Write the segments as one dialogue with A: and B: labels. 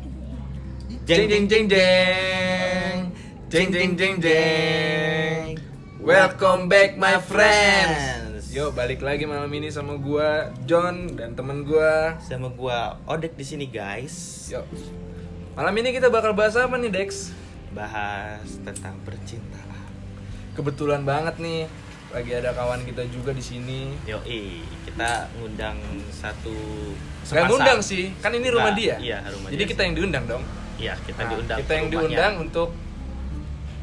A: gitu?
B: Jeng jeng jeng jeng Jeng jeng jeng jeng Welcome back my friends Yo balik lagi malam ini sama gua John dan temen gua
C: sama gua Odek di sini guys.
B: Yo Malam ini kita bakal bahas apa nih Dex?
C: Bahas tentang percintaan.
B: Kebetulan banget nih lagi ada kawan kita juga di sini.
C: Yoi, kita ngundang satu
B: Saya
C: sepasang.
B: ngundang sih, kan ini rumah
C: Nah,
B: dia.
C: Iya, rumah
B: Jadi
C: dia
B: kita
C: sih.
B: yang diundang dong.
C: Iya, kita
B: Nah,
C: diundang.
B: Kita
C: ke
B: yang
C: rumahnya.
B: diundang untuk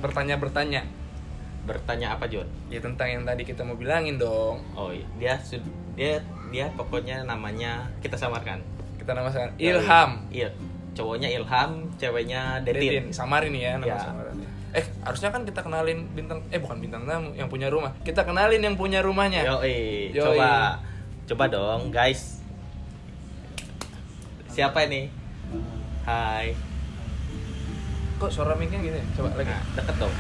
B: bertanya-bertanya
C: bertanya apa, Jon?
B: ya tentang yang tadi kita mau bilangin dong.
C: Oh, iya. dia sud- dia dia pokoknya namanya kita samarkan.
B: Kita namakan Ilham.
C: Iya. Cowoknya Ilham, ceweknya
B: Detin,
C: Detin.
B: samarin ya nama
C: Ya.
B: samarannya. Eh, harusnya kan kita kenalin bintang eh bukan bintang tamu yang punya rumah. Kita kenalin yang punya rumahnya.
C: Yoi,
B: Iya. Yoi.
C: coba coba dong, guys. Siapa ini? Hai.
B: Kok suara mic-nya gini? ya? Coba lagi.
C: Nah, deket dong.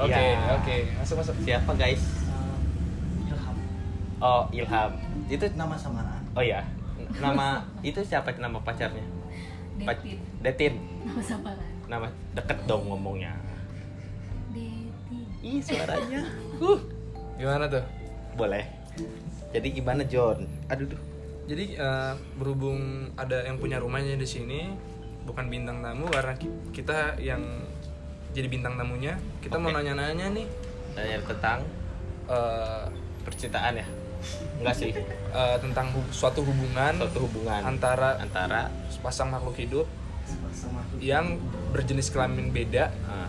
B: Oke,
C: Ya.
B: oke. Masuk masuk.
C: Siapa guys?
D: Eh, Ilham
C: Oh, Ilham. Itu
D: nama samaran
C: Oh ya. Nama itu siapa nama pacarnya? Pac-
A: Detin
C: Detin.
A: Nama samaran
C: Nama deket dong ngomongnya.
A: Detin
C: Ih, suaranya.
B: Gimana tuh?
C: Boleh. Jadi gimana, John? Aduh duh.
B: Jadi eh, berhubung ada yang punya rumahnya di sini, bukan bintang tamu karena ki- kita yang jadi bintang tamunya. Kita mau
C: Oke.
B: nanya-nanya nih
C: Tanya tentang
B: eh,
C: percintaan ya? Enggak sih.
B: eh, tentang hu- suatu hubungan
C: Suatu hubungan
B: antara
C: antara
B: sepasang makhluk hidup
D: sama
B: yang berjenis kelamin beda
C: ah,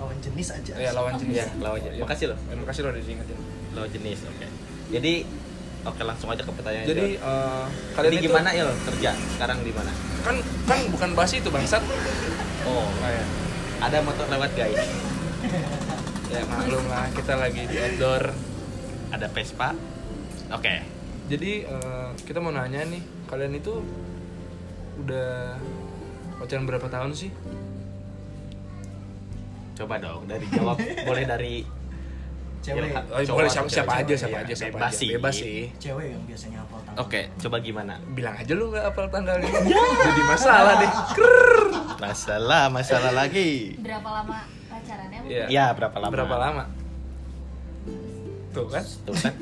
D: lawan jenis aja
B: ya lawan jenis.
C: ya, lawan jenis. Makasih loh.
B: Ya, makasih loh udah diingetin.
C: Lawan jenis, oke. Jadi oke langsung aja ke pertanyaan.
B: Jadi
C: John.
B: eh, kalian
C: jadi
B: itu
C: gimana Il kerja? Sekarang di mana?
B: kan kan bukan bahas itu bangsat.
C: Oh, ada motor lewat guys.
B: Ya maklum lah kita lagi di outdoor.
C: Ada Vespa. Oke.
B: Jadi eh, kita mau nanya nih kalian itu udah pacaran berapa tahun sih?
C: Coba dong dari jawab boleh dari
D: cewek Eh,
C: Ilham.
B: Oh,
C: Cowok
B: boleh
C: atau
B: siapa,
C: cewek?
B: siapa aja
C: Cewek,
B: siapa
C: iya.
B: aja siapa
C: Bebas
B: aja.
C: sih.
B: Bebas sih.
D: cewek yang biasanya hafal tangan
C: Oke, coba gimana?
B: Bilang aja lu nggak hafal tanggalnya. Jadi masalah deh. Krrr.
C: Masalah, masalah lagi.
A: Berapa lama pacarannya? Bu?
B: Iya.
C: Ya, berapa lama?
B: Berapa lama? Tuh kan?
C: Tuh kan.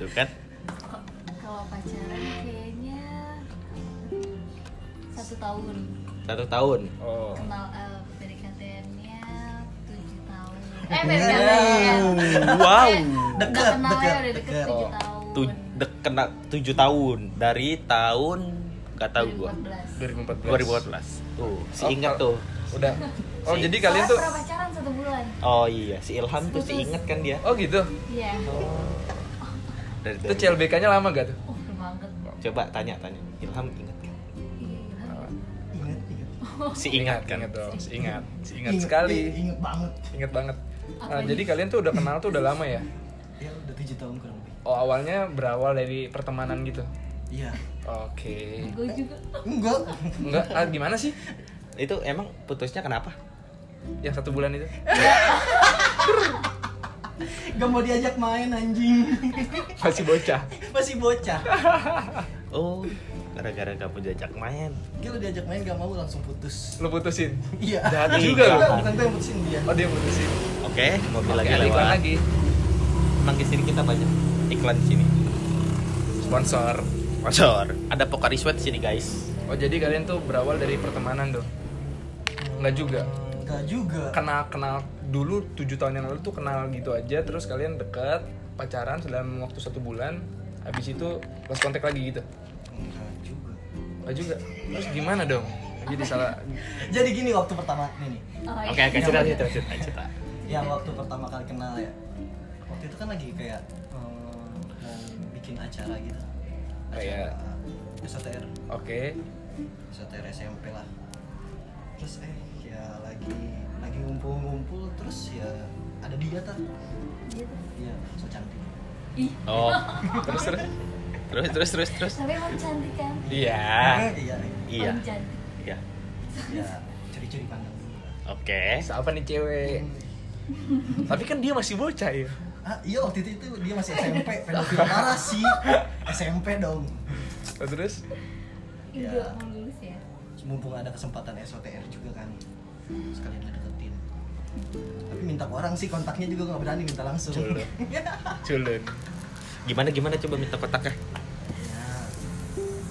C: Tuh kan.
A: Kok- Kalau pacaran kayaknya Satu tahun
C: Satu tahun.
B: Oh.
A: Kenal eh, PDKT-nya Tujuh tahun Eh PDKT-nya
C: Wow.
A: Deket
D: Deket,
A: Kenal ya
D: deket,
A: udah deket
D: deket.
A: tujuh
B: Oh.
A: tahun
C: Tu dek kena tujuh tahun dari tahun gak tahu gua.
A: 2014.
B: 2014.
C: 2014. Tuh,
B: Oh,
C: seingat
B: kalau-
C: tuh.
B: Udah. Oh,
C: Si-
B: jadi kalian tuh
A: Soalnya pernah pacaran satu bulan
C: Oh iya, si Ilham tuh seingat kan dia.
B: Oh gitu.
A: Iya
C: Dari,
B: Itu CLBK-nya lama gak tuh?
A: Oh lama banget
C: Coba tanya-tanya. Ilham ingat kan?
A: Iya, iya.
D: inget inget
C: Si ingat kan?
B: Ingat dong, si ingat. Si ingat sekali.
D: i- inget iya, banget
B: Ingat banget. Nah,
A: Apanya?
B: jadi kalian tuh udah kenal tuh udah lama ya?
D: ya udah tujuh tahun kurang lebih
B: Oh awalnya berawal dari pertemanan gitu.
D: iya
B: Oke.
A: Gue juga
D: enggak
B: Enggak, ah, gimana sih?
C: Itu emang putusnya kenapa?
B: Yang satu bulan itu?
D: gak mau diajak main anjing
B: Masih bocah.
D: masih bocah
C: Oh, gara-gara kamu diajak main.
D: gila diajak main gak mau langsung putus
B: Lu putusin.
D: iya
B: Jahat
C: Iya.
B: juga lu.
D: Enggak, bukan gue yang putusin dia
B: Oh dia putusin.
C: Oke, mobil lagi
B: Oke, ada iklan
C: lewat.
B: lagi.
C: Emang di sini kita banyak iklan di sini.
B: Sponsor.
C: Sponsor. Ada Pocari Sweat di sini, guys.
B: Oh jadi kalian tuh berawal dari pertemanan tuh? Enggak juga. Kan-
D: enggak juga
B: Kenal kenal dulu tujuh tahun yang lalu tuh kenal gitu aja. Terus kalian dekat pacaran dalam waktu satu bulan. Habis itu lost kontak lagi gitu.
D: enggak juga
B: Enggak juga. Terus gimana dong? Jadi salah.
D: jadi gini waktu pertama ini nih
A: Oh,
C: Oke,
A: iya.
C: oke, cerita, cerita, cerita, cerita.
D: yang waktu pertama kali kenal ya waktu itu kan lagi kayak eh, mau bikin acara gitu
B: Kayak-
D: acara STR
B: Oke.
D: STR SMP lah terus eh ya lagi lagi ngumpul-ngumpul terus ya ada dia tuh
A: Iya tuh.
D: iya so cantik
A: Ih,
C: Oh,
B: Terus terus.
C: terus, terus, terus, terus.
A: tapi emang cantik kan?
B: Ah.
C: Iya.
D: iya
C: Iya.
A: Om cantik.
C: Iya.
D: ya curi-curi pandang dulu lah.
C: Oke.
B: Siapa nih cewek? Tapi kan dia masih bocah ya.
D: ah iya waktu itu, itu dia masih SMP pedofil parah sih SMP dong
B: Nah, Terus
A: Iya.
D: Iya.
A: mau lulus ya.
D: Mumpung ada kesempatan SOTR juga kan Sekalian ngedeketin Tapi minta ke orang sih kontaknya juga gak berani minta langsung
C: Culun. culun gimana gimana coba minta kotaknya
D: Ya,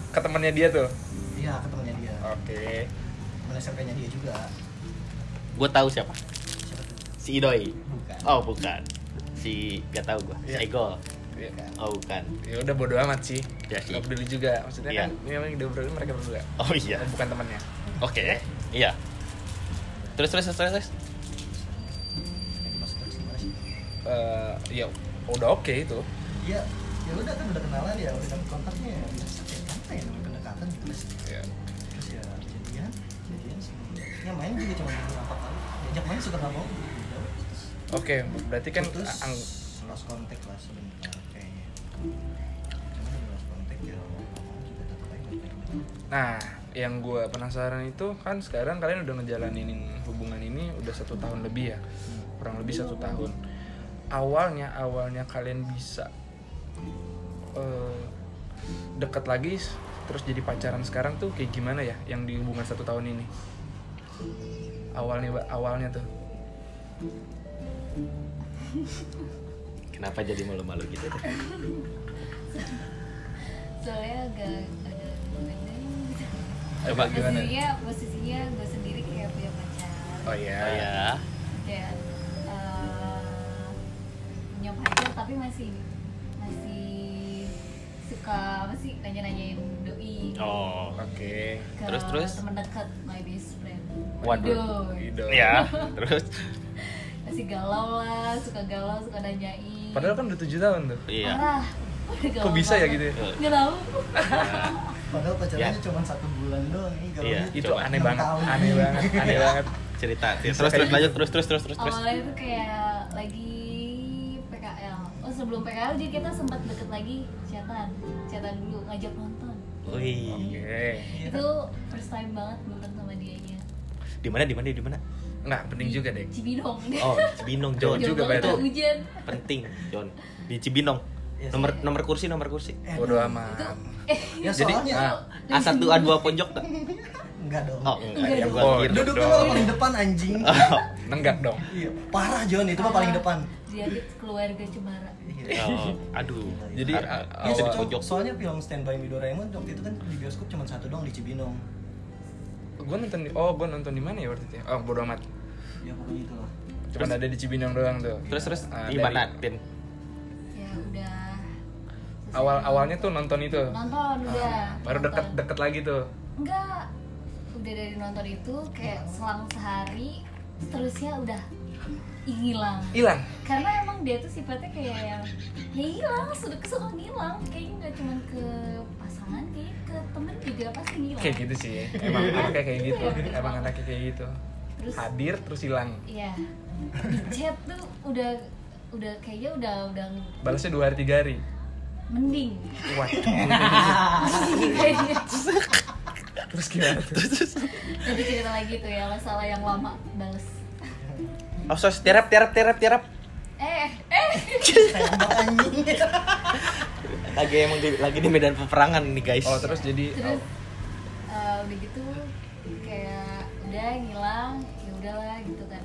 B: ke temannya dia tuh
D: Iya ke temennya dia
B: oke
D: Temen SMP-nya dia juga
C: gue tahu siapa
D: Siapa tuh?
C: si idoi
D: Bukan
C: oh bukan si gak tahu gue
B: Iya.
C: si Ego
B: ya,
D: Bukan.
C: oh bukan
B: ya udah bodo amat Iya sih
C: Ya sih.
B: Nggak peduli juga maksudnya
C: Iya.
B: kan ini memang yang diobrolin mereka berdua
C: oh iya
B: bukan temannya
C: oke iya terus terus terus terus
D: Yang dimaksud terus gimana sih?
B: Eh, ya udah oke itu
D: Iya ya udah kan udah kenalan ya udah dapet kontaknya ya biasa ya apa ya namanya pendekatan terus
B: ya.
D: terus ya jadian jadian sih ya main juga cuma beberapa kali diajak main suka nggak mau ya udah, terus
B: oke berarti kan
D: terus
B: ang
D: lost contact lah sebenarnya kayaknya cuma di lost contact ya lama-lama juga tetap aja lost contact.
B: nah yang gue penasaran itu kan sekarang kalian udah ngejalaniin hubungan ini udah satu tahun lebih ya kurang lebih satu tahun awalnya awalnya kalian bisa eh, deket lagi terus jadi pacaran sekarang tuh kayak gimana ya yang di hubungan satu tahun ini awalnya awalnya tuh
C: kenapa jadi malu-malu gitu
A: Soalnya agak agak gimana gitu.
B: coba gimana
A: Posisinya posisinya gue sendiri kayak punya pacar.
B: oh ya
C: oh ya
A: Kayak eh, punya pacar tapi masih masih suka masih nanya-nanyain doi.
C: oh
B: oke
A: Ke
C: terus, terus?
A: teman dekat my best friend.
C: Waduh.
B: Ido.
C: ya terus
A: Masih galau lah, suka galau, suka nanyain.
B: padahal kan udah tujuh tahun tuh
C: iya
A: Parah. Udah galau
B: Kok bisa ya
A: banget.
B: gitu ya?
A: Nggak tahu.
D: padahal pacarannya
C: Ya.
D: cuma satu bulan doang ini
C: Iya.
D: galaunya.
B: itu
C: Coba. Iya.
B: aneh
D: Enam
B: banget
D: tahun. Iya.
B: aneh banget aneh banget
C: cerita terus
B: Bisa
C: terus
B: kayak
C: lanjut terus terus terus terus terus
A: Awalnya tuh kayak lagi PKL. Oh sebelum PKL dia kita sempat deket lagi chatan, chatan dulu ngajak nonton.
C: wih
B: oke
D: Iya.
A: Itu first time banget nonton sama dianya.
C: di mana di mana di mana
B: nggak penting juga deh
A: Cibinong.
C: oh Cibinong
B: Jauh
C: John
B: juga,
A: banget,
B: Pak.
A: ada hujan.
C: penting John di Cibinong
D: Iya sih.
C: nomor nomor kursi nomor kursi
D: Eh,
A: Itu
B: bodo amat
A: eh
D: ya
C: Jadi,
D: soalnya
B: ah,
C: A1 A2 pojok gak?
D: enggak dong
C: Oh, enggak,
A: Enggak
C: yang
A: dong.
C: gua
B: Oh,
C: kira.
D: duduknya
B: dong.
D: malah paling depan anjing
B: nenggak dong
D: iya parah John itu mah paling depan
A: Iya. dia di keluarga Cemara.
D: Iya. Ya,
C: Oh, aduh.
B: Jadi, uh, oh,
C: Har-
B: a-
C: harus
B: awal-
C: di pojok.
D: soalnya film Standby Me Doraemon waktu itu kan di bioskop cuma satu doang di Cibinong
B: gue nonton di oh gue nonton di mana ya waktu itu ya? oh bodo amat
D: ya pokoknya itu lah
B: cuman ada di Cibinong doang tuh
C: Terus terus
B: Ah,
C: gimana,
B: dari-
C: Tin?
A: Ya udah. Selesai.
B: awal awalnya tuh nonton itu Ah,
A: nonton udah.
B: baru deket
A: nonton.
B: deket lagi tuh
A: Enggak. Udah dari nonton itu kayak selang sehari terusnya udah hilang.
B: hilang
A: Karena emang dia tuh sifatnya kayak yang ya hilang, sudah kesuka hilang. Kayaknya nggak cuma ke pasangan, kayak ke temen juga pasti hilang.
B: kayak gitu sih emang
A: Iya.
B: anaknya kayak gitu
A: Iya.
B: emang anaknya kayak gitu
A: Terus-
B: hadir terus hilang
A: Iya. Di chat tuh udah udah kayaknya udah udah
B: balasnya dua hari tiga hari
A: mending.
B: waduh
A: Kayaknya.
B: terus gimana tuh
A: Nanti cerita lagi tuh ya masalah yang lama bales.
C: Oh, sos terap terap terap terap.
A: Eh, eh.
D: tembak anjing
C: Lagi emang di, lagi di medan peperangan nih, guys.
B: oh terus jadi
A: terus eh, udah gitu kayak udah ngilang ya udahlah gitu kan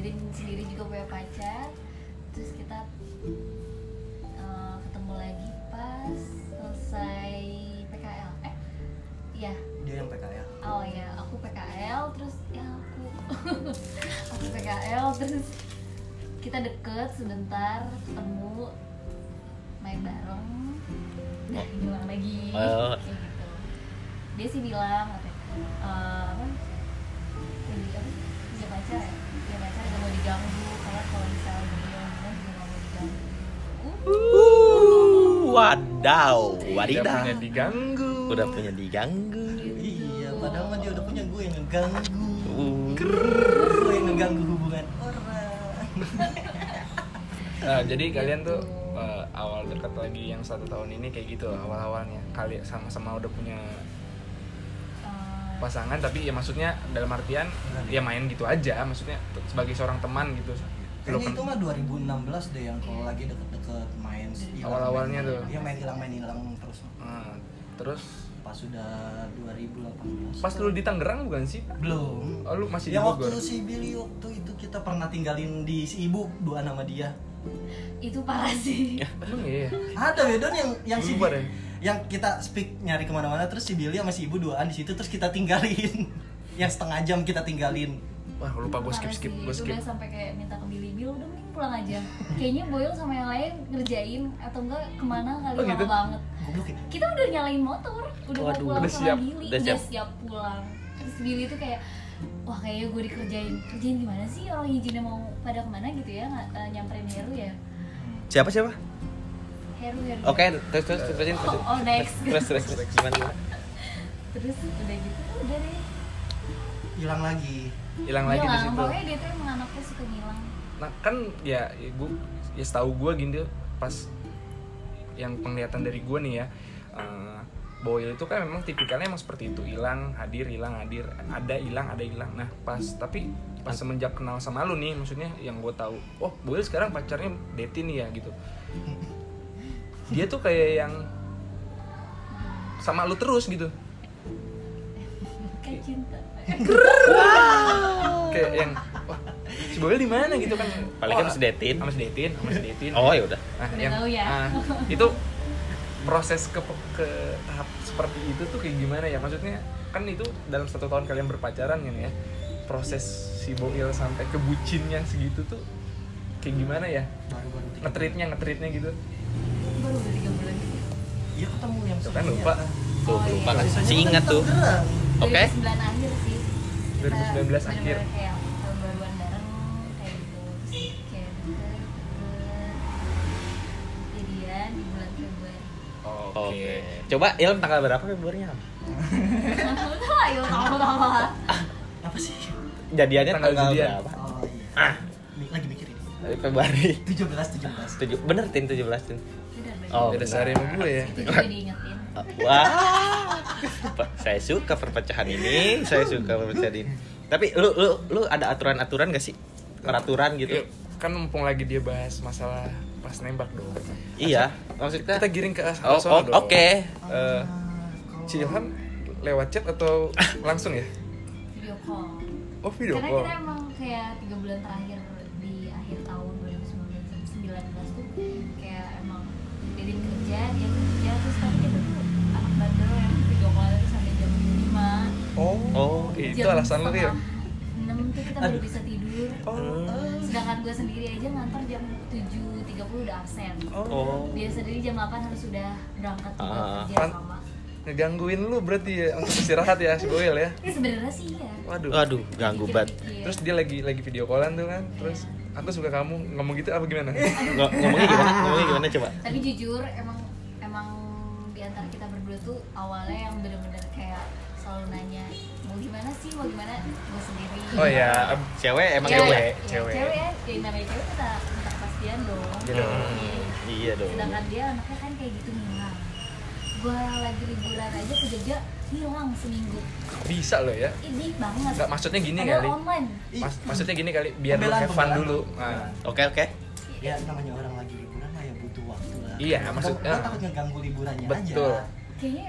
A: jadi sendiri juga punya pacar terus kita eh, ketemu lagi pas selesai PKL eh ya
D: dia yang PKL
A: oh ya aku PKL terus ya aku aku PKL terus kita deket sebentar ketemu main bareng udah hilang lagi
C: Oh.
A: kayak gitu dia sih bilang katanya "Eh, apa punya apa sih? punya pacar ya punya pacar gak mau diganggu karena kalau misalnya dia ngomong juga gak mau diganggu Uh,
C: Uh, wadaw,
B: tidak punya
C: wadidaw.
B: diganggu
C: Udah punya diganggu.
A: gitu.
D: iya padahal mah dia udah punya gue yang ngeganggu
C: Uh,
D: gue yang ngeganggu hubungan orang
B: Eh, jadi kalian tuh eh, awal dekat lagi yang satu tahun ini kayak gitu awal awalnya kali sama-sama udah punya
A: Eh,
B: pasangan tapi ya maksudnya dalam artian ya main gitu aja maksudnya t- sebagai seorang teman gitu Lo
D: kayaknya
B: ken-
D: itu mah 2016 deh yang kalau lagi deket-deket main hilang,
B: Awal-awalnya
D: main-
B: tuh.
D: iya main hilang main hilang terus
B: Hmm, Eh, terus
D: pas sudah 2018
B: Pas lu di Tangerang bukan sih?
D: belum
B: Oh, lu masih di
D: ya
B: Bogor?
D: waktu si Billy waktu itu kita pernah tinggalin di si ibu dua nama dia
A: Eh, itu parah sih
B: Emang iya ya?
D: ada Wedon yang yang si
B: Lupa deh.
D: yang kita speak nyari kemana-mana terus si Billy sama si ibu duaan di situ terus kita tinggalin yang setengah jam kita tinggalin
B: Wah lupa gue skip skip
A: Parah
B: gue
A: sih,
B: skip.
A: udah sampai kayak minta ke Billy Bill udah mending pulang aja kayaknya Boyol sama yang lain ngerjain atau enggak kemana kali
B: Oh,
A: lama
B: gitu?
A: banget
D: goblok ya
A: kita udah nyalain motor udah mau
C: Waduh,
A: pulang
B: udah
A: sama
B: siap,
A: Billy
C: udah
A: udah
C: siap.
A: siap. pulang terus Billy tuh kayak wah kayaknya gue dikerjain kerjain gimana sih orang izinnya mau pada kemana gitu ya nggak eh, nyamperin Heru ya
C: Siapa siapa?
A: Heru Heru
C: Oke, terus terus terus terusin, terusin.
A: Oh, oh, next.
C: Terus terus terus gimana? gimana?
A: terus udah gitu udah deh
D: hilang lagi
B: Hilang lagi di
A: hilang
B: situ.
A: Iya, pokoknya dia tuh emang anaknya suka ngilang
B: Nah kan ya gue ya setahu gue gini pas yang penglihatan dari gue nih ya. eh, Boyle itu kan memang tipikalnya emang seperti itu hilang hadir hilang hadir ada hilang ada hilang nah pas tapi pas semenjak kenal sama lu nih maksudnya yang gue tahu oh Boyle sekarang pacarnya Deti nih ya gitu dia tuh kayak yang sama lu terus gitu
A: kayak cinta
B: kayak yang wah si Boyle di mana gitu kan
C: Paling kan
B: Wah,
C: si Detin.
B: sama si Detin sama si Detin
C: Oh ya udah.
B: Nah,
A: Udah tahu ya.
B: ah, itu proses ke ke tahap seperti itu tuh kayak gimana ya? Maksudnya kan itu dalam satu tahun kalian berpacaran kan ya? Proses si Boil sampai ke bucinnya segitu tuh kayak gimana ya?
D: baru-baru tiga
B: Ngetritnya ngetritnya gitu.
A: baru udah tiga bulan gitu.
D: bulan. ya ketemu yang
B: Tuh kan
D: sebelumnya.
B: lupa.
C: Tuh,
A: Oh, iya.
C: lupa kan.
D: Sisanya
C: Si
D: kan
C: ingat tuh.
D: Tangerang.
C: Oke.
A: 2009 akhir sih Kita
B: 2019
A: bener-bener
B: akhir.
A: kayak tahun baruan bareng kayak gitu Terus kayak deket, deket. jadian di bulan Februari
C: Oke. Coba Ilm tanggal berapa Februarinya?
A: tahu tahu ayo tahu tahu lah.
D: apa sih
C: Jadiannya
B: Tanggal
C: tanggal,
B: jadian.
C: berapa?
D: oh iya
C: Ah,
D: Mi- lagi mikir ini
C: Februari.
D: 17 17
C: Tujuh, bener tin 17 tin.
A: Udah, baik.
C: Oh,
B: Beda
C: benar.
B: sehari sama gue ya.
A: itu juga diingetin
C: Ah, Wah. Pe- Saya suka perpecahan ini, saya suka perpecahan ini. Tapi lu lu lu ada aturan-aturan gak sih? Peraturan
B: Iya,
C: gitu.
B: Kan mumpung lagi dia bahas masalah pas nembak dong.
C: Iya, maksudnya
B: Kita giring ke arah
C: Oh,
B: sono
C: oh,
B: dong.
C: oke.
B: Eh, si Ilham lewat chat atau langsung ya?
A: video call
B: Oh video
A: karena
B: call.
A: kita emang kayak tiga bulan terakhir di akhir tahun 2019 19 tuh kayak emang jadi kerja dia kerja terus kan kita tuh anak bandel yang video call terus sampai jam 5
B: Oh,
C: Oh,
A: Iya,
B: itu alasan lu ya?
A: 6 tuh kita baru bisa tidur
B: Oh,
A: sedangkan gue sendiri aja ngantor jam 7.30 udah absen
C: Oh.
A: dia sendiri jam 8 harus sudah berangkat juga
C: Ah.
A: kerja
B: Pan-
A: sama
B: ngegangguin lu berarti ya untuk istirahat ya si Boil ya
A: ini sebenarnya sih ya
B: waduh
C: Aduh, ganggu banget.
B: terus dia lagi lagi video callan tuh kan terus aku suka kamu ngomong gitu apa gimana
C: Ngo- ngomongnya gimana? Ngomongnya gimana coba?
A: tapi jujur emang emang di antara kita berdua tuh awalnya yang bener-bener kayak selalu nanya mau gimana sih mau gimana gue sendiri
B: oh ya ab-
C: Cewek emang
A: Iya,
C: cewek.
A: iya, cewek ya jadi namanya cewek kita minta kepastian dong
B: Iya
C: Hmm, Iya dong.
A: sedangkan dia anaknya kan kayak gitu hilang gue lagi liburan aja ke Jogja hilang seminggu
B: bisa lo ya
A: ini banget
B: nggak maksudnya gini
A: Padahal
B: kali
A: online
B: Mas- maksudnya gini kali biar lu
D: Pembelaan,
B: have fun
D: pembelaan.
B: dulu Nah,
C: Oke, oke.
D: ya namanya orang lagi liburan lah ya butuh waktu lah
B: Iya,
D: Gua-
B: maksudnya-
D: gua takut ngeganggu liburannya
B: Betul.
D: aja
A: kayaknya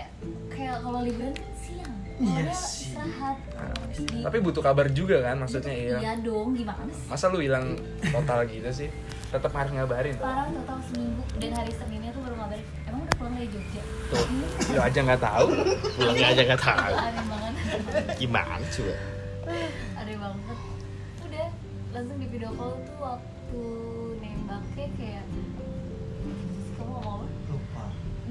A: kayak kalau liburan kan siang Kalau
D: Iya sih.
A: istirahat Di-
B: Nah, tapi butuh kabar juga kan maksudnya iya
A: iya dong gimana sih
B: masa lu hilang total gitu sih tetap harus ngabarin tuh
A: Parah total seminggu dan hari Seninnya tuh baru ngabarin emang udah pulang dari Jogja
B: tuh lu aja nggak tahu
C: Pulangnya aja nggak tahu.
A: aneh banget
C: Gimana coba?
A: aneh banget udah langsung di video call tuh waktu nembaknya kayak kamu ngomong apa? Hmm.
D: lupa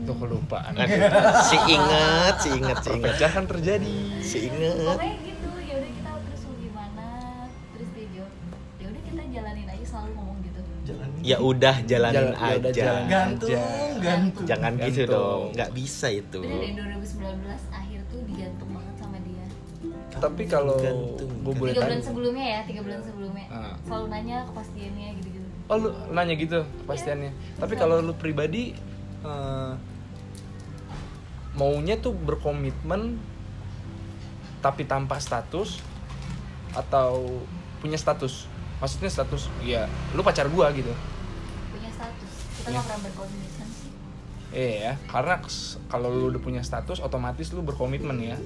B: tuh kelupaan
C: Aduh, si inget, si inget, si inget.
B: pecahan terjadi
C: Si inget.
A: pokoknya gitu ya udah kita terus mau gimana terus dia jawab ya udah kita jalanin aja selalu ngomong gitu
D: jalan
C: Ya udah jalanin
B: Jalan- ya udah
C: aja.
B: jalan.
D: gantung
B: Iya, Aja.
D: gantung
C: Jangan gitu
B: Gantung.
C: dong. Nggak bisa itu.
A: bener deh 2019 akhir tuh digantung banget sama dia
B: tapi kalau
C: Gantung.
B: gue boleh
A: tiga bulan
B: tanya
A: sebelumnya ya tiga bulan sebelumnya
B: Ah.
A: selalu nanya kepastiannya gitu-gitu
B: Oh lu nanya gitu kepastiannya.
A: Iya.
B: Tapi kalau lu pribadi eh, maunya tuh berkomitmen tapi tanpa status atau punya status. Maksudnya status ya lu pacar gua gitu.
A: punya status kita nggak pernah berkomunikasi sih
B: Iya ya, karena s- kalau lu udah punya status otomatis lu berkomitmen ya.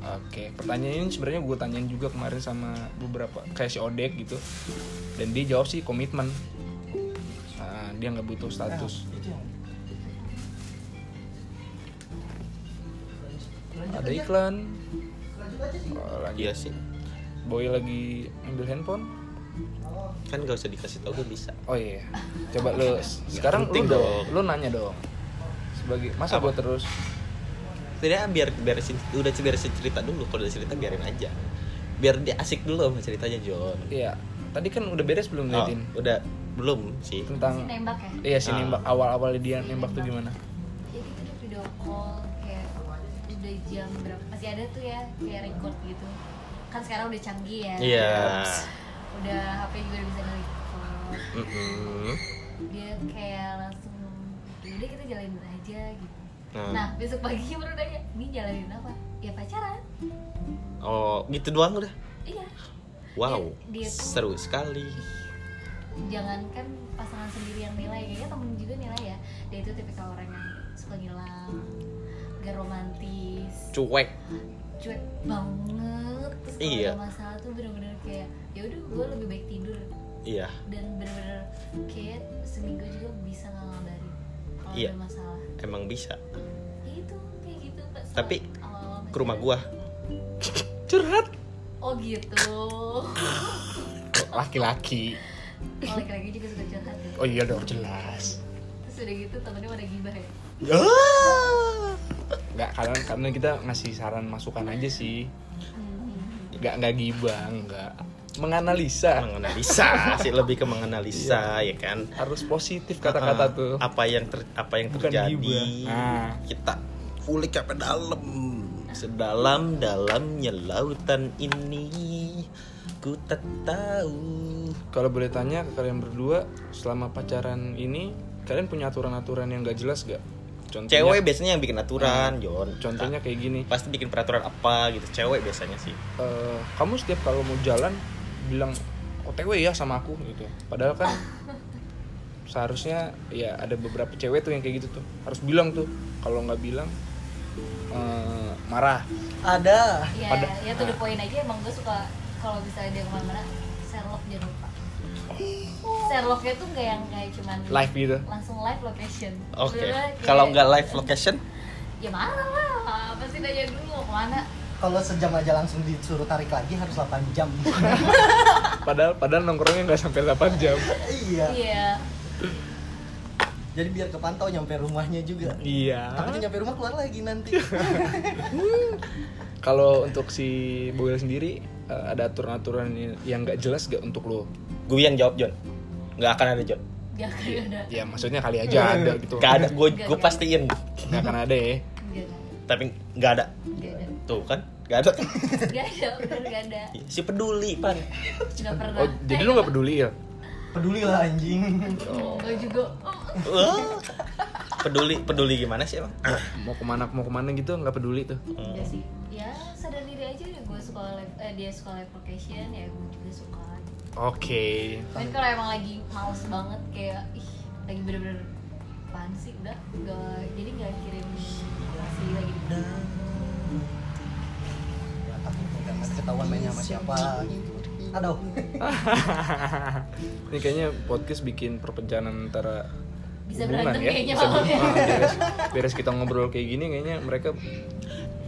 B: Oke, pertanyaan ini sebenarnya gue tanyain juga kemarin sama beberapa kayak si Odek gitu. Dan dia jawab sih komitmen. Nah, dia nggak butuh status.
D: Nah, itu yang
B: Ada iklan. Oh,
C: Iya
B: lanjut.
C: sih.
B: Boy lagi ambil handphone.
C: Kan gak usah dikasih tau gue bisa.
B: Oh iya. Coba lu s- sekarang lu
C: penting
B: dong,
C: dong.
B: lu nanya dong. Sebagai masa
C: Apa?
B: gue terus
C: Tidak biar beresin udah beresin cerita dulu. Kalau udah cerita biarin aja. Biar dia asik dulu sama ceritanya John.
B: Iya, tadi kan udah beres belum
C: Oh,
B: ngeliatin
C: udah belum sih.
B: tentang
A: Si nembak ya?
B: Iya, si
C: Ah.
B: nembak awal-awal dia nembak tuh
A: ya
B: gimana?
A: kita udah video call kayak udah jam berapa masih ada tuh ya kayak record gitu kan sekarang udah canggih ya
C: Iya.
A: udah HP juga udah bisa nge-record
C: Mm-mm.
A: dia kayak langsung "Ya udah kita jalanin aja gitu
C: Hmm.
A: nah besok paginya baru nanya ini jalanin apa ya pacaran
C: Oh, gitu doang udah.
A: iya
C: Wow,
A: Dia- dia tuh-
C: seru sekali.
A: jangankan kan pasangan sendiri yang nilai kayaknya temen juga nilai ya dia itu tipikal orang yang suka ngilang gak romantis
C: Cuek.
A: cuek banget terus kalau
C: Iya.
A: ada masalah tuh bener-bener kayak ya udah gue lebih baik tidur
C: Iya.
A: dan bener-bener kayak seminggu juga bisa nggak ngabarin kalau
C: Iya.
A: ada masalah
C: Emang bisa.
A: ya itu kayak gitu Pak. Soal
C: Tapi,
A: awal-awal
C: Ke rumah
A: pacaran.
C: gua.
B: Curhat.
A: oh gitu
B: Laki-laki.
A: oh laki-laki juga suka curhat ya
B: Oh iya dong jelas.
A: terus udah gitu temennya pada gibah ya
B: Nggak, karena karena kita ngasih saran masukan aja sih.
A: Hmm.
B: Nggak nggak gibah, nggak menganalisa.
C: menganalisa sih lebih ke menganalisa ya kan
B: Harus positif kata-kata
C: Uh,
B: tuh.
C: apa yang ter- apa yang
B: Bukan
C: terjadi
B: gibah. Nah.
C: kita kulik sampai dalam sedalam dalamnya lautan ini ku tak tahu
B: Kalau boleh tanya ke kalian berdua, selama pacaran ini kalian punya aturan-aturan yang nggak jelas gak? Contohnya,
C: cewek biasanya yang bikin
B: Ah.
C: aturan Jon
B: Contohnya kayak gini.
C: pasti bikin peraturan apa gitu cewek biasanya sih
B: eh, kamu setiap kalau mau jalan bilang OTW ya sama aku gitu. Padahal kan seharusnya ya ada beberapa cewek tuh yang kayak gitu tuh harus bilang tuh kalau nggak bilang eh, marah.
D: ada
A: ya
B: Pada-
A: ya tuh the point aja emang gue suka kalau misalnya dia kemana-mana Sherlock jangan lupa
C: Oh.
A: Sherlocknya tuh nggak yang kayak cuman
B: Live gitu.
A: langsung live location
C: oke
A: Bener-bener kayak-
C: kalau nggak live location
A: ya marah lah pasti nanya dulu mau kemana
D: kalau sejam aja langsung disuruh tarik lagi harus 8 jam
B: Padahal padahal nongkrongnya nggak sampai 8 jam.
D: iya
A: iya
D: jadi biar kepantau nyampe rumahnya juga
B: iya.
D: tapi dia nyampe rumah keluar lagi nanti
B: Kalau untuk si Boyle sendiri eh, ada aturan-aturan yang nggak jelas gak untuk lo?
C: gue yang jawab Jon nggak akan ada Jon
A: gak akan ada
B: Ya maksudnya kali aja ada gitu.
C: Iya, nggak ada gue
A: Nggak
C: gue
A: ada.
C: pastiin
B: Nggak akan ada ya.
A: gak ada
C: tapi nggak ada
A: gak ada
C: tuh kan nggak ada
A: gak ada bener gak ada
C: si peduli pan
A: gak pernah
B: Oh, jadi lu nggak peduli ya?
D: peduli lah anjing
A: gue juga oh,
C: Wah. peduli peduli gimana sih emang
B: Mau kemana mau kemana gitu nggak peduli tuh.
A: enggak sih ya sadar diri aja ya gue suka live eh, dia suka live location ya gue juga suka
B: Oke.
A: tapi kalau emang lagi males banget kayak ih lagi bener-bener apaan sih udah gak jadi gak kirim masih lagi di
D: Ya, takut kan nanti ketahuan mainnya sama siapa gitu Iya, aduh
B: Ini kayaknya podcast bikin perpecahan antara
A: Bisa
B: hubungan
A: berantem
B: ya.
A: kayaknya
B: Bisa
A: malam ya.
B: ber- ah, beres, beres kita ngobrol kayak gini kayaknya mereka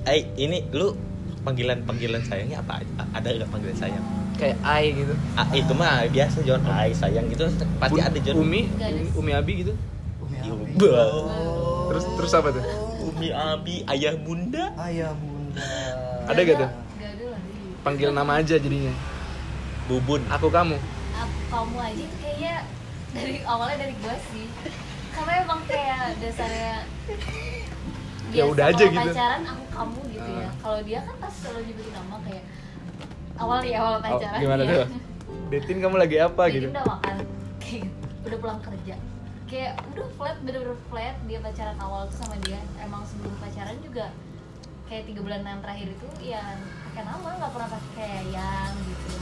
C: eh ini lu panggilan panggilan sayangnya apa aja? ada nggak panggilan sayang
B: kayak ai gitu.
C: ah, itu mah biasa John ay sayang gitu pasti
B: U-
C: ada John
B: Umi,
A: Nggak ada.
B: Umi Abi gitu.
D: Umi
C: Iya,
D: Abi.
C: Bah.
B: Terus terus apa tuh?
C: Umi Abi ayah bunda
D: ayah ya, bunda
B: Ada gak tuh?
A: gak ada lah dulu
B: Panggil nama aja jadinya.
C: bubun
B: Aku kamu.
A: aku kamu aja itu kayaknya dari awalnya dari gua sih karena emang kayak dasarnya
B: Ya
A: biasa
B: udah aja
A: kalau
B: gitu.
A: pacaran aku kamu gitu ya
B: Ah.
A: kalau dia kan pas selalu nyebutin nama kayak awal nih awal
B: Oh,
A: pacaran
B: gimana
A: ya.
B: tuh? Detin kamu lagi apa
A: Jadi
B: gitu?
A: udah makan kayak gitu. udah pulang kerja kayak udah flat bener-bener flat dia pacaran awal tuh sama dia emang sebelum pacaran juga kayak tiga bulan yang terakhir itu ya pakai nama nggak pernah pakai kayak yang gitu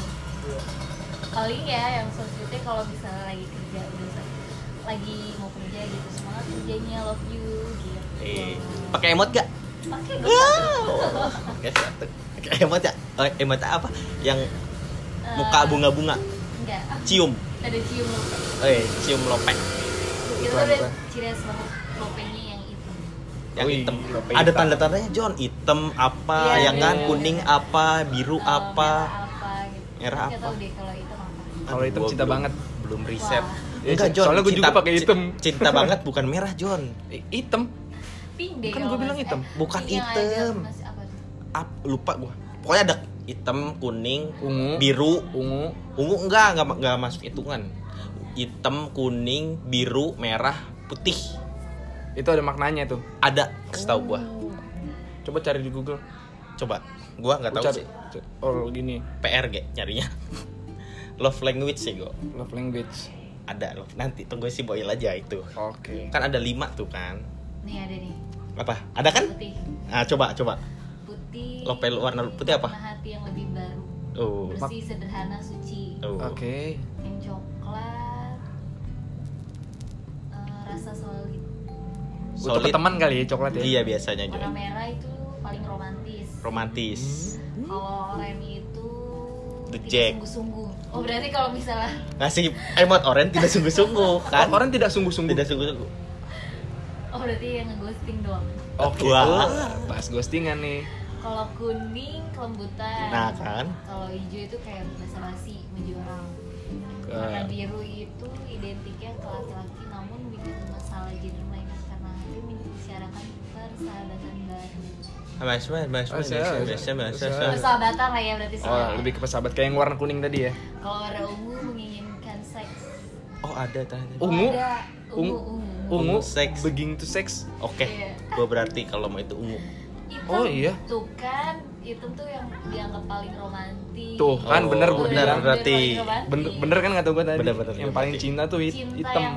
A: paling ya yang selanjutnya kalau misalnya lagi kerja udah se- lagi mau kerja aja gitu semangat kerjanya love you gitu
C: Eh, pakai emot gak?
A: pakai dong,
C: Wow. Oke, satu. Pakai emot ya? Oh, emot apa? Yang
A: Eh,
C: muka bunga-bunga,
A: enggak ah,
C: cium.
A: ada cium lope
C: Eh, cium lopek.
A: itu
B: Iklan
A: ada
B: apa?
A: ciri khas lope- lopenya yang itu
C: yang
B: Wih,
C: hitam.
B: lope
C: Ada
B: hitam.
C: tanda-tandanya John hitam apa,
A: Iya,
C: yang kan
B: iya.
C: kuning apa, biru
A: Eh, merah
C: apa.
A: apa gitu
C: Merah
A: Nggak
C: apa?
A: tahu deh kalau itu apa
B: Kalau hitam
C: Gua
B: cinta
C: belum-
B: banget.
C: Belum riset.
A: Wah.
B: Ya,
C: Enggak, John.
B: soalnya gua juga
C: cinta-
B: pakai hitam.
C: ci- Cinta banget bukan merah, John.
B: Eh, Hitam.
A: pink deh kalau
B: Kan gua bilang
A: nggak-
B: hitam.
A: eh,
C: Bukan
A: pink yang ada
C: hitam.
A: masih apa tuh?
C: Ap, lupa gua. Pokoknya ada hitam, kuning,
B: Ungu.
C: biru,
B: Ungu.
C: ungu enggak, enggak enggak masuk hitungan. Hitam, kuning, biru, merah, putih.
B: Itu ada maknanya tuh.
C: Ada, setahu gua.
B: Coba cari di Google.
C: Coba. Gua nggak
B: Lu
C: tahu
B: cari.
C: sih.
B: Oh gini.
C: PRG nyarinya. love language sih gua.
B: Love language.
C: Ada love. Nanti tunggu si Boil aja itu.
B: Oke.
C: Kan ada lima tuh kan.
A: nih ada nih
C: Apa? Ada kan?
A: putih
C: Ah, coba coba.
A: putih
C: Lope warna putih apa?
A: warna hati yang lebih baru
C: Oh.
A: bersih sederhana suci
C: Oh.
B: Oke.
A: yang coklat eh, rasa solid
B: Untuk
C: Solid.
B: teman kali ya coklat ya.
C: Iya biasanya
A: warna
C: Joy.
A: merah itu paling romantis
C: Romantis.
A: kalau oranye itu
C: The
A: tidak
C: Jack.
A: sungguh-sungguh oh berarti kalau misalnya
C: Ngasih Nah, emot oren tidak sungguh-sungguh kan?
B: Oh, orang tidak sungguh-sungguh.
C: tidak sungguh-sungguh.
A: oh berarti yang ngeghosting doang
B: Oke.
C: Wah.
B: Oh, Bahas ghostingan nih.
A: kalau kuning kelembutan
C: Nah, kan.
A: kalau hijau itu kayak basa-basi menjuarang
B: Eh.
A: warna biru itu identiknya ke laki-laki namun bikin masalah gender melainkan karena itu mengisyaratkan persahabatan baru
C: Ah, Mas, mas, mas,
B: Oh,
C: mas,
B: saya-
C: mas, mas, mas,
B: saya-
C: mas.
A: persahabatan lah ya berarti
B: Oh,
A: sahabat.
B: lebih ke pesawat kayak yang warna kuning tadi ya.
A: kalau warna ungu menginginkan seks
C: Oh, ada tanya.
B: Ungu?
A: Oh, ada. ungu
B: Ungu?
A: ungu, ungu.
B: Ungu.
C: Seks.
B: Begin to sex.
C: Oke.
A: Iya.
C: Gua berarti kalau mau itu ungu.
A: Hitam
B: Oh, iya.
A: tuh kan hitam tuh yang dianggap paling romantis
B: Tuh, kan
C: Oh,
B: bener
A: Tuh,
B: gue
C: bener,
B: bilang.
A: yang
C: berarti.
A: paling romantis.
B: Bener, bener kan kata gue tadi.
C: Bener, bener,
B: yang
C: bener.
B: paling cinta tuh hit-
A: cinta yang
B: hitam.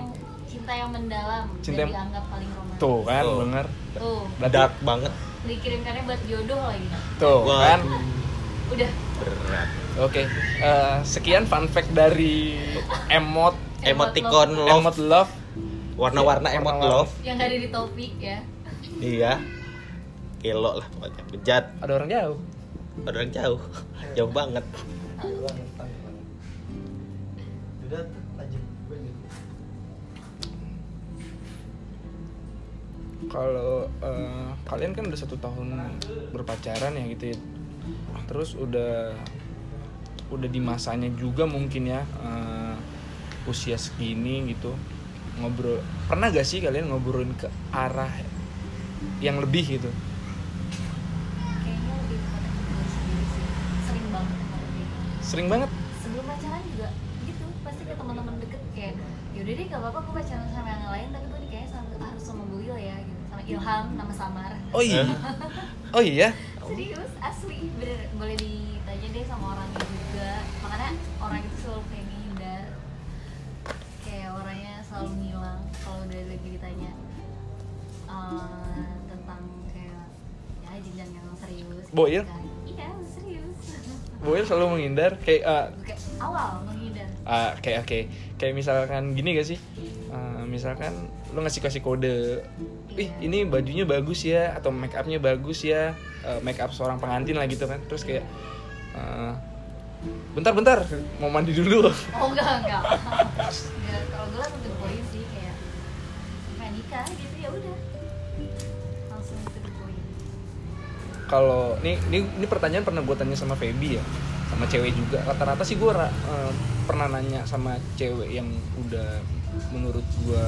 A: cinta yang mendalam
B: Cinta
A: dan
B: yang-
A: dianggap paling romantis
B: Tuh kan,
C: Tuh.
B: bener.
A: tuh
B: Berarti-
C: Dark banget.
A: dikirimkannya buat jodoh lagi
B: Tuh
C: Wah.
B: kan.
A: udah
C: Berat.
B: Oke. eh, sekian fun fact dari emot
C: Emoticon
B: emot
C: love.
B: love.
C: Warna-warna emot
B: Warna-warna.
C: love.
A: yang gak ada di topik ya
C: Iya. Gelo lah pokoknya. Bejat.
B: Ada orang jauh.
C: Orang jauh. Jauh banget.
D: Udah lanjut gue nih.
B: Kalau eh, kalian kan udah satu tahun berpacaran ya gitu ya. Terus udah udah di masanya juga mungkin ya eh, usia segini gitu ngobrol. Pernah gak sih kalian ngobrolin ke arah yang lebih gitu?
A: kayaknya lebih kepada ke gue sendiri sih sering banget kemarin kayak gitu.
B: Sering banget.
A: sebelum pacaran juga gitu pasti ke teman-teman deket kayak yaudah deh gak apa-apa gue pacaran sama yang lain tapi gue kayaknya sama- harus sama Boil ya gitu sama Ilham nama samar
B: Oh iya. Oh iya.
A: serius asli bener boleh ditanya deh sama orangnya juga makanya orang itu selalu kayak ngehindar kayak orangnya selalu ngilang kalau udah lagi ditanya eh, tentang kayak ya jenjang yang serius gitu
B: Boil?
A: kan. iya serius
B: Boy selalu menghindar kayak eh,
A: kayak awal menghindar
B: Ah, kayak oke kayak misalkan gini gak sih Ah, misalkan lo ngasih kasih kode ih
A: Iya.
B: ini bajunya bagus ya atau make upnya bagus ya Eh, make up seorang pengantin lah gitu kan terus kayak ah, bentar bentar mau mandi dulu
A: oh enggak enggak enggak kalau gue langsung ke poin sih kayak pengen nikah gitu ya udah langsung ke poin
B: kalau nih ini ini pertanyaan pernah gue tanya sama Feby ya sama cewek juga rata-rata sih gue pernah nanya sama cewek yang udah menurut gue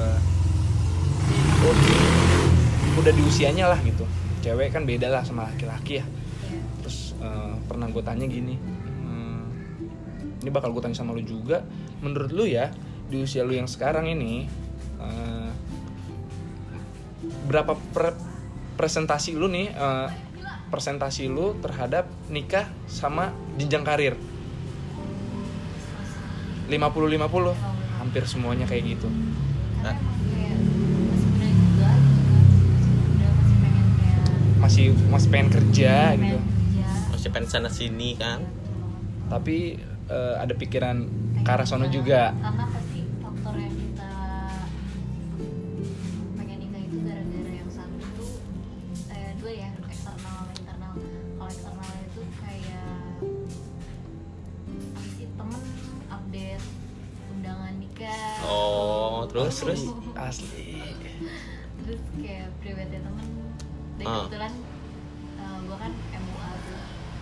B: udah di usianya lah gitu cewek kan beda lah sama laki-laki ya
A: ya
B: terus eh, pernah gue tanya gini "Hmm, ini bakal gue tanya sama lu juga menurut lu ya di usia lu yang sekarang ini eh, berapa per- presentasi lu nih eh, presentasi lu terhadap nikah sama jenjang karir
A: terus
B: 50-50 hampir semuanya kayak gitu
A: karena
C: Nah.
A: emang kayak masih muda juga gitu kan masih muda masih pengen kayak
B: masih masih pengen kerja
A: pengen
B: gitu
A: kerja
C: Masih pengen sana sini kan.
B: tapi eh, ada pikiran
A: Pengen
B: ke arah sono
A: banget.
B: juga
A: karena pasti faktor yang kita eh, ya,
C: Oh, terus terus asli
A: terus kayak private temen dan
C: Ah.
A: kebetulan eh, gua kan MUA tuh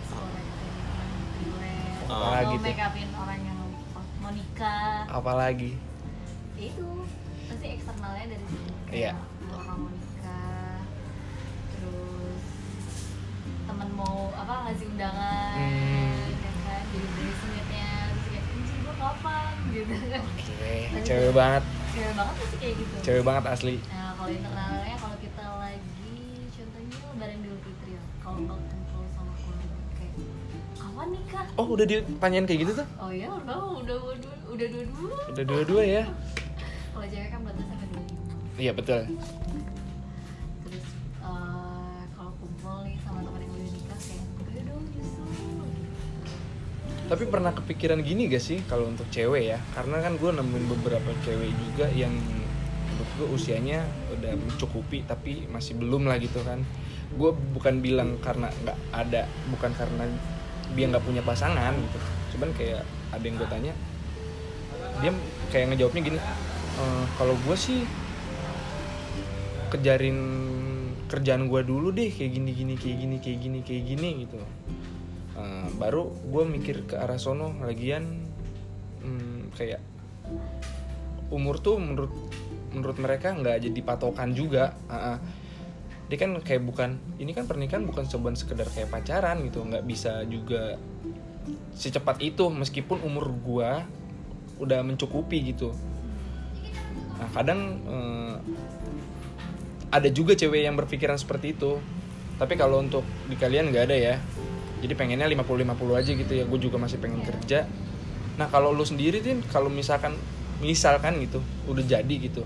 A: sekolah gitu temen priwet
C: Ah.
A: mau
B: Gitu.
A: make upin orang yang mau nikah
B: apalagi
A: ya itu pasti eksternalnya dari sini
B: Iya.
A: Kayak mau orang mau nikah terus temen mau apa ngasih undangan
B: Hmm.
A: ya kan jadi bridesmaidnya terus kayak kunci gua kapan gitu kan
B: Oke, cewek banget,
A: cewek banget tuh sih kayak gitu
B: cewek banget asli.
A: Nah, kalau internalnya kalau kita lagi contohnya lebaran Idul Fitri ya. Kalau nggak kumpul sama keluarga kayak kawan nikah.
B: Oh, udah ditanyain kayak gitu tuh?
A: Oh iya, udah udah udah udah dua dua.
B: Udah dua-dua ya?
A: Kalau cewek kan batasnya sampai dua lima.
B: Iya, betul.
A: Terus eh, kalau kumpul nih sama teman yang udah nikah kayak ayo dong nyusul.
B: Tapi pernah kepikiran gini gak sih kalau untuk cewek ya? Karena kan gue nemuin beberapa cewek juga yang menurut gue usianya udah mencukupi tapi masih belum lah gitu kan. Gue bukan bilang karena nggak ada, bukan karena dia nggak punya pasangan gitu. Cuman kayak ada yang gue tanya, dia kayak ngejawabnya gini, "Eh, kalau gue sih kejarin kerjaan gue dulu deh kayak gini gini kayak gini kayak gini kayak gini gitu Eh, baru gue mikir ke arah sono lagian hmm, kayak umur tuh menurut menurut mereka nggak jadi patokan juga Ah, ah. dia kan kayak bukan ini kan pernikahan bukan seban sekedar kayak pacaran gitu nggak bisa juga secepat itu meskipun umur gue udah mencukupi gitu nah kadang eh, ada juga cewek yang berpikiran seperti itu tapi kalau untuk di kalian nggak ada ya jadi pengennya 50-50 aja gitu ya gue juga masih pengen kerja nah kalau lu sendiri Tin, kalau misalkan misalkan gitu udah jadi gitu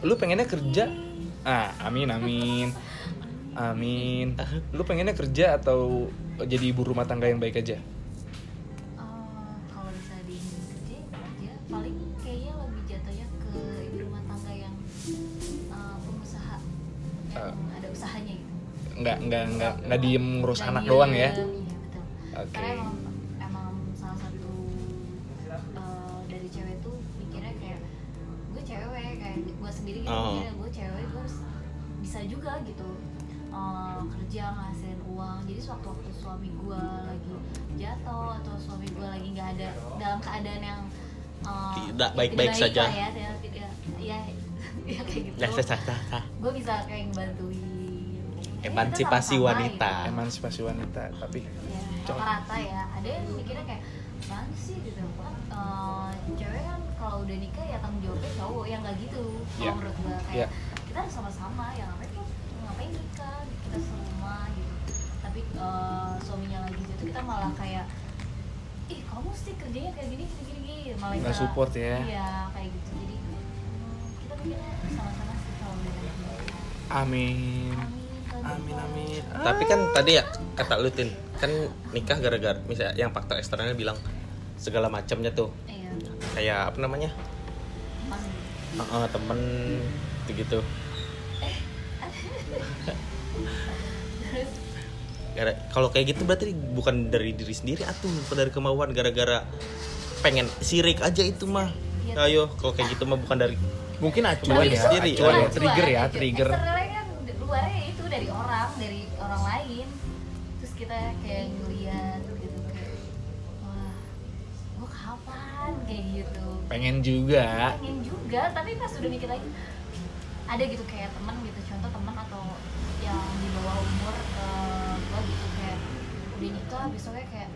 B: lu pengennya kerja ah amin amin amin lu pengennya kerja atau jadi ibu rumah tangga yang baik aja
A: Eh, kalau bisa di kerja kerja paling kayaknya lebih jatuhnya ke ibu rumah tangga yang eh, pengusaha yang ada usahanya gitu.
B: nggak nggak nggak nggak diem ngurus
A: Dan
B: anak
A: Iya, diem,
B: doang ya
A: iya, betul.
B: Oke.
A: Karena emang, emang salah satu uh, dari cewek tuh mikirnya kayak gue cewek kayak gue sendiri gitu
C: Oh.
A: mikirnya gue cewek gue harus bisa juga gitu uh, kerja ngasilin uang jadi sewaktu-waktu suami gue lagi jatuh atau suami gue lagi nggak ada dalam keadaan yang uh,
C: Tidak
A: ya,
C: baik-baik
A: lah
C: saja.
A: ya tidak tidak ya, ya kayak gitu
C: dah dah dah dah, dah.
A: gue bisa kayak ngebantuin Eh, kita
C: Emansipasi
A: sama-sama
C: wanita.
A: gitu.
B: emansipasi wanita tapi
A: Ya,
B: Cowok.
A: rata-rata ya ada yang mikirnya kayak apaan sih gitu kan eh, cewek kan kalau udah nikah ya tanggung jawabnya cowok yang nggak gitu kalau
B: Iya.
A: menurut gua kayak
B: Iya.
A: kita harus sama-sama ya ngapain tuh ngapain nikah kita semua gitu tapi eh, suaminya lagi gitu kita malah kayak ih kamu sih kerjanya kayak gini gini gini, gini." malah
B: Nggak
A: kita-
B: support ya.
A: iya kayak gitu jadi hmm, kita mikirnya sama-sama sih kalau udah nikah
B: amin
A: amin
B: amin amin Ah.
C: tapi kan tadi ya kata lu Tin, kan nikah gara-gara misalnya yang faktor eksternalnya bilang segala macamnya tuh
A: iya
C: kayak apa namanya
A: amin.
C: Eh, eh, temen gitu
A: terus
C: gara kalau kayak gitu berarti bukan dari diri sendiri atuh bukan dari kemauan gara-gara pengen sirik aja itu mah
A: Iya.
C: ayo kalau kayak gitu mah bukan dari
B: mungkin acuan ya
C: Tapi itu sendiri.
B: acuan ya
C: Acuan,
B: trigger ya trigger
A: Eksternalnya kan luarnya itu dari orang, dari orang lain. Terus kita kayak ngeliat gitu kayak, wah, gua kapan kayak gitu.
B: pengen juga
A: Pengen juga, tapi pas udah mikir lagi, ada gitu kayak teman gitu, contoh teman atau yang di bawah umur ke gua gitu kayak udah nikah besoknya kayak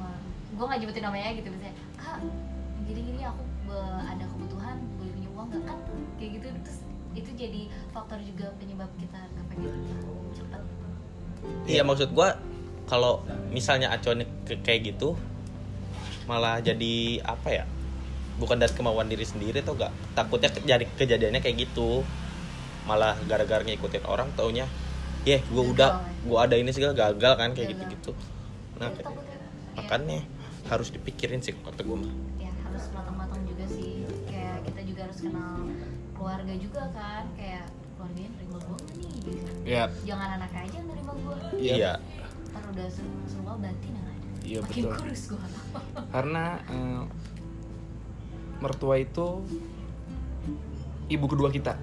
A: wah, gua nggak nyebutin namanya gitu misalnya kak gini gini aku be- ada kebutuhan boleh punya uang nggak kan kayak gitu terus itu jadi faktor juga penyebab kita nggak pengen cepet
C: iya maksud gua kalau misalnya acuannya ke- kayak gitu malah jadi apa ya bukan dari kemauan diri sendiri tuh gak takutnya ke- jadi kejadiannya kayak gitu malah gara-gara ngikutin orang taunya ya gua udah gua ada ini segala gagal kan
A: Gagal.
C: kayak gitu-gitu nah
A: Jadi
C: kayak-
A: takutnya, ya,
C: makanya harus dipikirin sih kata gua mah
A: ya harus matang-matang juga sih kayak kita juga harus kenal keluarga juga kan kayak keluarganya terima gue nih gitu.
B: ya
A: jangan anaknya aja yang terima gue
C: iya
A: ntar udah semua semua batin yang ada
B: Iya,
A: makin
B: betul.
A: kurus gue
B: karena eh, mertua itu ibu kedua kita.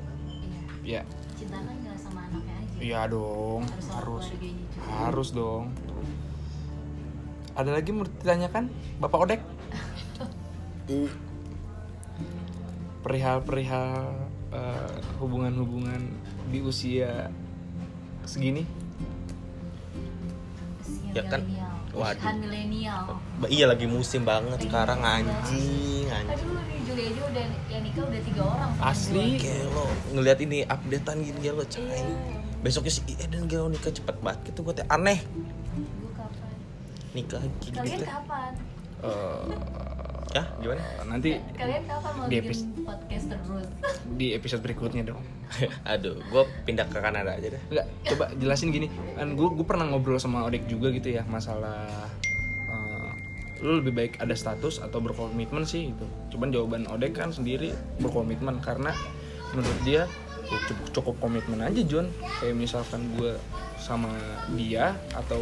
A: Iya.
B: Ya,
A: Cinta kan nggak sama anaknya aja.
B: iya dong,
A: Harus sama
B: harus,
A: keluarganya juga.
B: harus dong. Ada lagi mau ditanyakan, Bapak Odek? Perihal-perihal eh, hubungan-hubungan di usia segini?
A: Usia
C: Ya kan?
A: milenial.
C: Waduh.
A: Usaha milenial.
C: Ba- Iya lagi musim banget sekarang anjing anjing.
A: Aduh, di Juli aja udah yang nikah udah tiga orang. temen
B: Asli?
A: gua.
C: Kayak lo ngelihat ini updatean gini ya lo cai.
A: Iya.
C: Besoknya si Eden gila nikah cepet banget gitu gue teh aneh
A: Gua kapan?
C: nikah gitu.
A: Kalian
C: gitu.
A: kapan?
B: Eh,
C: Ya gimana?
B: nanti
A: Kalian kapan mau
B: Di
A: bikin podcast terus?
B: di episode berikutnya dong.
C: Aduh, gue pindah ke Kanada aja deh.
B: Enggak, coba jelasin gini. Kan gue gue pernah ngobrol sama Odek juga gitu ya masalah eh, lu lebih baik ada status atau berkomitmen sih gitu. Cuman jawaban Odek kan sendiri berkomitmen karena menurut dia ya cukup cukup komitmen aja John. Kayak misalkan gue sama dia atau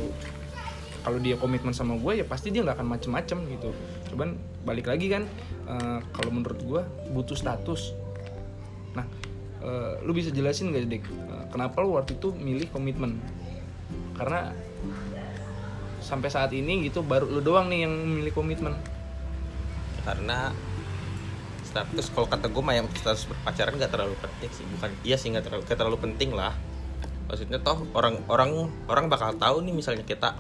B: kalau dia komitmen sama gue ya pasti dia nggak akan macem-macem gitu. Cuman balik lagi kan eh, kalau menurut gue butuh status Nah, eh, lu bisa jelasin gak, Dek? Eh, kenapa lu waktu itu milih komitmen? Karena sampai saat ini gitu baru lu doang nih yang milih komitmen.
C: Karena status kalau kata gue mah yang status berpacaran nggak terlalu penting sih bukan iya sih nggak terlalu nggak terlalu penting lah maksudnya toh orang orang orang bakal tahu nih misalnya kita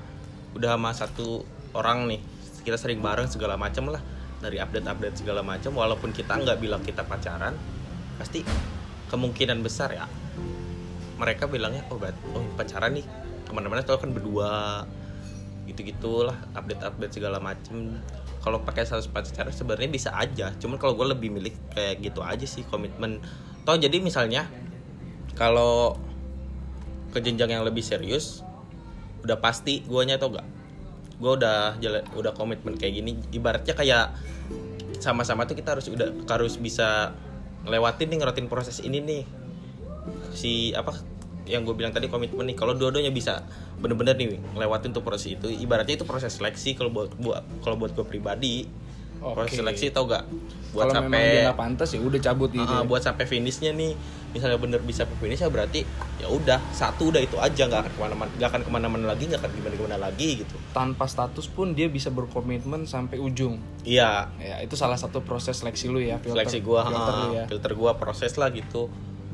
C: udah sama satu orang nih kita sering bareng segala macam lah dari update update segala macam walaupun kita nggak bilang kita pacaran pasti kemungkinan besar ya mereka bilangnya oh, bat- oh pacaran nih kemana-mana tuh kan berdua gitu gitulah update update segala macem kalau pakai status pacaran sebenarnya bisa aja cuman kalau gue lebih milih kayak gitu aja sih komitmen toh jadi misalnya kalau ke jenjang yang lebih serius udah pasti guanya tau gak gue udah jala- udah komitmen kayak gini ibaratnya kayak sama-sama tuh kita harus udah harus bisa ngelewatin nih ngerotin proses ini nih si apa yang gue bilang tadi komitmen nih kalau dua-duanya bisa bener-bener nih ngelewatin tuh proses itu ibaratnya itu proses seleksi kalau buat buat kalau buat gue pribadi proses
B: Oke.
C: seleksi tau gak buat
B: Kalau memang dia
C: sampai
B: nggak pantas ya udah cabut gitu.
C: Ah,
B: ya.
C: buat sampai finishnya nih misalnya bener bisa sampai finishnya berarti ya udah satu udah itu aja nggak akan kemana-mana nggak akan kemana-mana lagi nggak akan gimana-gimana lagi gitu
B: Tanpa status pun dia bisa berkomitmen sampai ujung.
C: iya
B: Ya, itu salah satu proses seleksi lu ya, filter.
C: seleksi gua
B: filter lu
C: ah,
B: ya.
C: filter gua proses lah gitu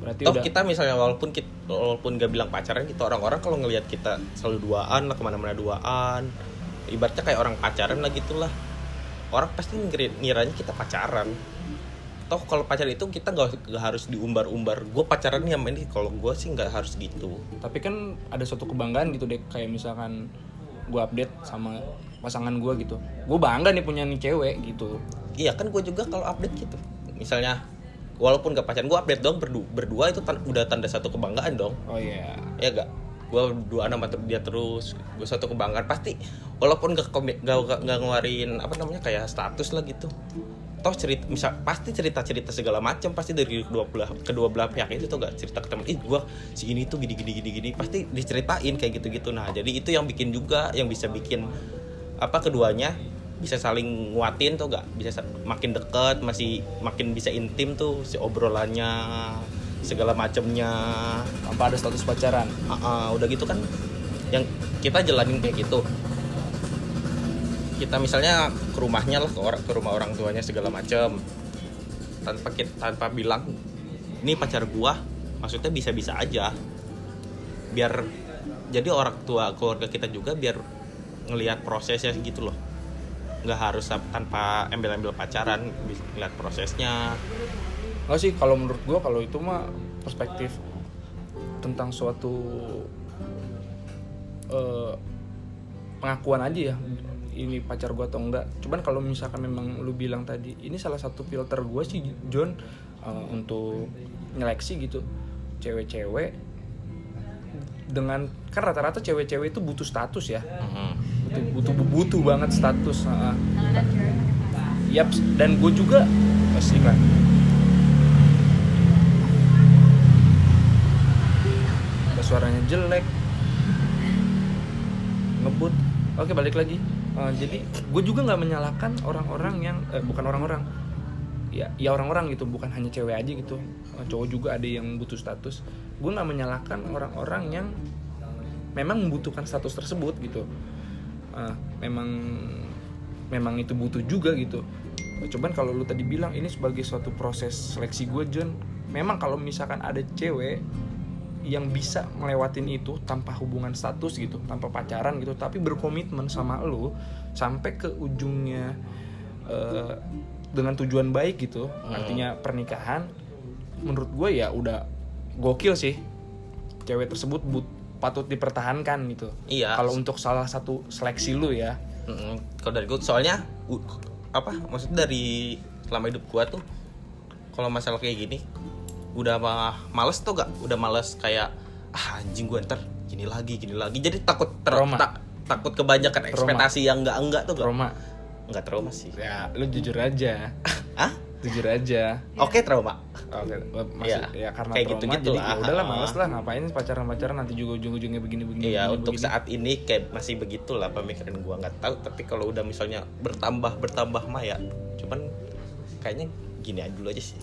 B: Berarti
C: toh
B: udah
C: kita misalnya walaupun kita walaupun gak bilang pacaran gitu orang-orang kalau ngelihat kita selalu duaan lah kemana-mana duaan ibaratnya kayak orang pacaran lah gitulah orang pasti ngir- ngiranya kita pacaran toh kalau pacaran itu kita nggak nggak harus diumbar-umbar gue pacaran nih sama ini kalau gue sih nggak harus gitu
B: tapi kan ada suatu kebanggaan gitu deh kayak misalkan gue update sama pasangan gue gitu gue bangga nih punya nih cewek gitu
C: iya kan gue juga kalau update gitu misalnya walaupun gak pacaran gue update dong berdua, berdua itu tan- udah tanda satu kebanggaan dong
B: oh iya
C: ya gak gue berduaan sama ter- dia terus gue satu kebanggaan pasti walaupun gak, komit, gak, gak- gak ngeluarin apa namanya kayak status lah gitu toh cerita misal pasti cerita cerita segala macam pasti dari kedua belah kedua belah pihak itu tuh gak cerita ke teman ih gue si ini tuh gini gini gini gini pasti diceritain kayak gitu gitu nah jadi itu yang bikin juga yang bisa bikin apa keduanya bisa saling nguatin tuh gak bisa sa- makin deket masih makin bisa intim tuh si obrolannya segala macamnya
B: tanpa ada status pacaran
C: Ah, ah, udah gitu kan yang kita jalanin kayak gitu kita misalnya ke rumahnya lah ke, orang- ke rumah orang tuanya segala macem tanpa kita, tanpa bilang ini pacar gua maksudnya bisa-bisa aja biar jadi orang tua keluarga kita juga biar ngelihat prosesnya gitu loh nggak harus sam- tanpa embel-embel pacaran bisa ngelihat prosesnya
B: Nggak sih kalau menurut gua kalau itu mah perspektif tentang suatu eh, pengakuan aja ya ini pacar gua atau enggak cuman kalau misalkan memang lu bilang tadi ini salah satu filter gua sih John eh, untuk nyeleksi gitu cewek-cewek dengan kan rata-rata cewek-cewek itu butuh status ya
C: Mm-hmm.
B: butuh butuh, butuh banget status ah, ah.
A: Kalau ada cewek pakai pasangan.
B: Yaps, dan gue juga pas iklan. Ada suaranya jelek, ngebut. Oke balik lagi. Eh, jadi gue juga nggak menyalahkan orang-orang yang eh, bukan orang-orang. ya ya orang-orang gitu bukan hanya cewek aja gitu Eh, cowok juga ada yang butuh status gue nggak menyalahkan orang-orang yang memang membutuhkan status tersebut gitu Eh, memang memang itu butuh juga gitu cuman kalau lu tadi bilang ini sebagai suatu proses seleksi gue John memang kalau misalkan ada cewek yang bisa melewatin itu tanpa hubungan status gitu tanpa pacaran gitu tapi berkomitmen sama lu sampai ke ujungnya eh, dengan tujuan baik gitu artinya pernikahan menurut gue ya udah gokil sih cewek tersebut but- patut dipertahankan gitu
C: Iya.
B: kalau untuk salah satu seleksi lu ya
C: Mm-mm. kalau dari gue soalnya u- apa maksudnya dari selama hidup gua tuh kalau masalah kayak gini udah mah males tuh gak udah males kayak ah anjing gua ntar gini lagi gini lagi jadi takut ter-
B: Trauma.
C: tak- takut kebanyakan ekspektasi yang enggak enggak tuh gak
B: trauma
C: enggak trauma sih
B: ya lu jujur aja
C: ah
B: jujur aja
C: oke trauma
B: Oke, masih
C: Iya.
B: ya karena
C: Kayak
B: trauma
C: gitu-gitu
B: jadi
C: lah. Ah.
B: ya udahlah males lah ngapain pacaran-pacaran nanti juga ujung-ujungnya begini-begini.
C: Iya
B: begini,
C: untuk
B: begini.
C: saat ini kayak masih begitulah pemikiran gua nggak tahu tapi kalau udah misalnya bertambah bertambah mah ya cuman kayaknya gini aja dulu aja sih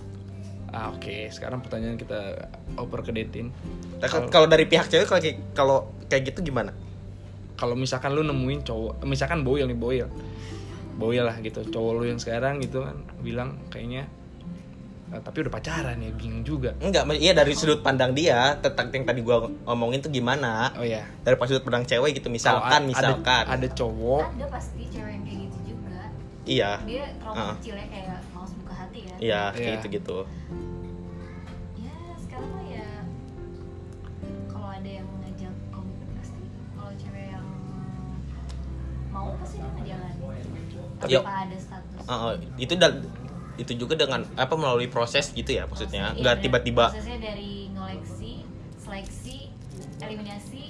B: Ah, oke, sekarang pertanyaan kita oper ke dating.
C: Nah, kalau- kalau dari pihak cewek kalau kayak- kalau kayak gitu gimana
B: Kalau misalkan lu nemuin cowok, misalkan boil nih boil. Boil lah gitu, cowok lu yang sekarang gitu kan bilang kayaknya "Eh, tapi udah pacaran ya bingung juga.
C: enggak ma- iya dari sudut pandang dia tentang yang tadi gua ngomongin tuh gimana
B: Oh ya.
C: dari pas sudut pandang cewek gitu
B: kalau a-
C: misalkan
B: ada-
C: misalkan
B: ada cowok
A: ada pasti cewek yang kayak gitu juga
C: iya
A: dia trauma
C: Ah.
A: kecilnya kayak mau buka hati ya
C: iya
B: Iya.
C: kayak gitu gitu
A: ya sekarang mah ya kalau ada yang ngajak komitmen pasti kalau cewek yang mau pasti dia ngejalan
C: Tapi-
A: tanpa ada status
C: Ah, ah, itu dal- itu juga dengan apa melalui proses gitu ya maksudnya
A: Prosesnya-
C: enggak
A: iya,
C: tiba-tiba
A: prosesnya dari ngoleksi seleksi eliminasi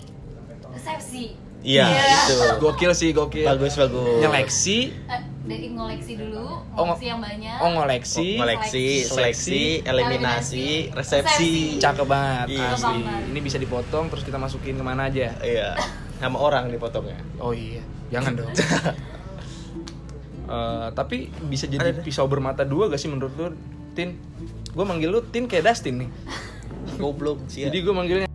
A: resepsi
C: iya
A: Iya.
C: itu
B: gokil sih gokil.
C: bagus bagus
B: Nyeleksi,
A: Eh, dari ngoleksi dulu
B: Oh,
A: ngoleksi yang banyak
B: oh ngoleksi.
C: Ngoleksi, seleksi,
B: seleksi,
C: eliminasi,
A: eliminasi,
C: resepsi.
A: resepsi.
B: Cakep banget,
C: Iya.
B: asli.
A: Gampang banget.
B: Ini bisa dipotong terus kita masukin kemana aja.
C: Iya. Sama orang dipotongnya.
B: Oh iya, jangan dong. Eh, tapi bisa jadi
C: Ada deh.
B: pisau bermata dua gak sih menurut lu, Tin? Gue manggil lu Tin kayak Dustin nih.
C: Goblok sih. Iya.
B: Jadi gue manggilnya